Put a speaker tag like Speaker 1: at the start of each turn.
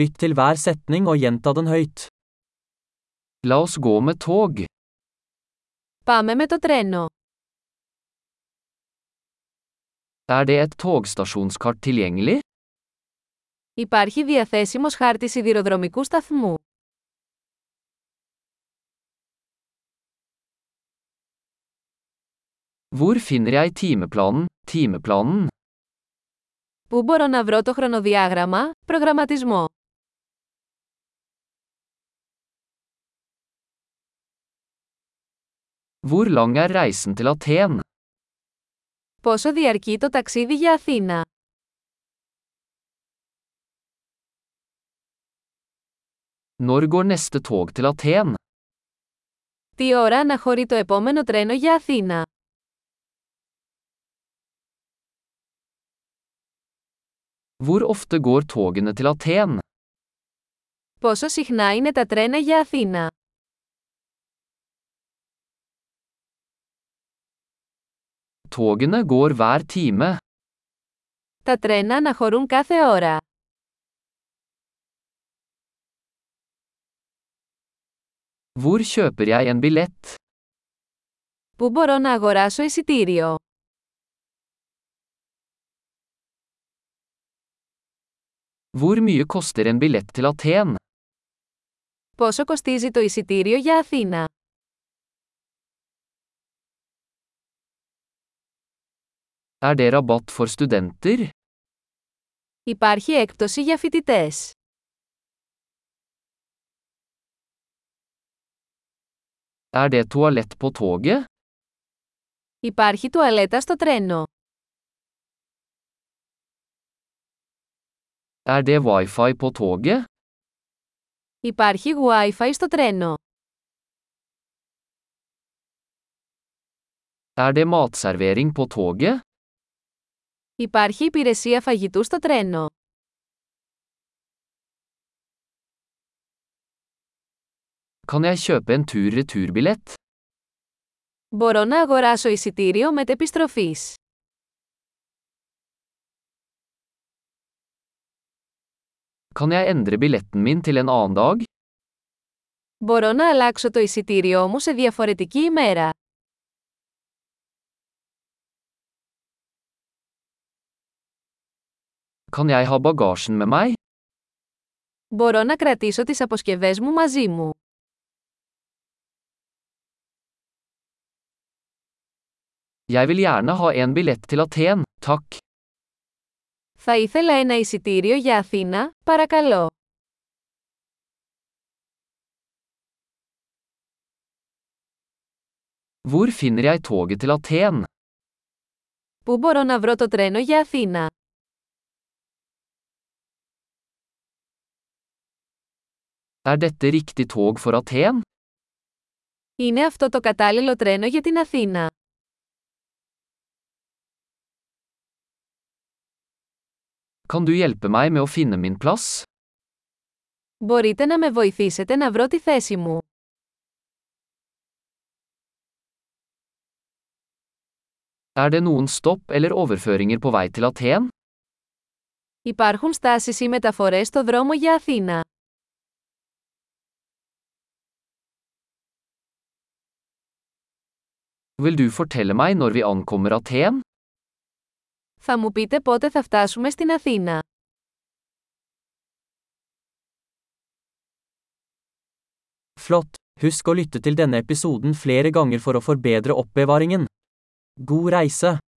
Speaker 1: Lytt til hver setning og gjenta den høyt. La oss gå med tog.
Speaker 2: Πάμε με το τρένο.
Speaker 1: Er det et togstasjonskart tilgjengelig?
Speaker 2: Υπάρχει διαθέσιμος χάρτης σιδηροδρομικού σταθμού.
Speaker 1: Hvor finner jeg timeplanen, timeplanen?
Speaker 2: Πού μπορώ να βρω το χρονοδιάγραμμα, προγραμματισμό.
Speaker 1: Hvor lang er reisen til Aten?
Speaker 2: Πόσο διαρκεί το ταξίδι για Αθήνα.
Speaker 1: Når går neste tog til Aten?
Speaker 2: Τι ώρα αναχωρεί το επόμενο τρένο για Αθήνα.
Speaker 1: Hvor ofte går togene til Aten?
Speaker 2: Πόσο συχνά είναι τα τρένα για Αθήνα.
Speaker 1: Togene går hver time.
Speaker 2: Τα τρένα αναχωρούν κάθε ώρα.
Speaker 1: Hvor kjøper jeg en billett?
Speaker 2: Πού μπορώ να αγοράσω εισιτήριο.
Speaker 1: Hvor mye koster en billett til Aten?
Speaker 2: Πόσο κοστίζει το εισιτήριο για Αθήνα.
Speaker 1: Er det rabatt for studenter?
Speaker 2: Υπάρχει έκπτωση για φοιτητές.
Speaker 1: Er det toalett på toget?
Speaker 2: Υπάρχει τουαλέτα στο τρένο.
Speaker 1: Er det wifi på toget?
Speaker 2: Υπάρχει Wi-Fi στο τρένο.
Speaker 1: Er det matservering på toget?
Speaker 2: Υπάρχει υπηρεσία φαγητού στο τρένο.
Speaker 1: Kan jeg kjøpe en tur-returbillett?
Speaker 2: Μπορώ να αγοράσω εισιτήριο μετεπιστροφής.
Speaker 1: Kan jeg endre billetten min til en annen dag?
Speaker 2: Μπορώ να αλλάξω το εισιτήριό μου σε διαφορετική ημέρα.
Speaker 1: Kan jeg ha bagasjen med meg?
Speaker 2: Μπορώ να κρατήσω τις αποσκευές μου μαζί μου.
Speaker 1: Jeg vil gjerne ha en billett til Aten, takk.
Speaker 2: Θα ήθελα ένα εισιτήριο για Αθήνα, παρακαλώ.
Speaker 1: Hvor finner jeg toget til Aten?
Speaker 2: Πού μπορώ να βρω το τρένο για Αθήνα.
Speaker 1: Er dette riktig tog for Aten?
Speaker 2: Είναι αυτό το κατάλληλο τρένο για την Αθήνα.
Speaker 1: Kan du hjelpe meg med å finne min plass?
Speaker 2: Μπορείτε να με βοηθήσετε να βρω τη θέση μου.
Speaker 1: Er det noen stopp eller overføringer på vei til Aten?
Speaker 2: Υπάρχουν στάσεις ή μεταφορές στο δρόμο για Αθήνα.
Speaker 1: Vil du fortelle meg når vi ankommer Aten?
Speaker 2: Θα μου πείτε πότε θα φτάσουμε στην Αθήνα.
Speaker 3: Flott! Husk å lytte til denne episoden flere ganger for å forbedre oppbevaringen. God reise!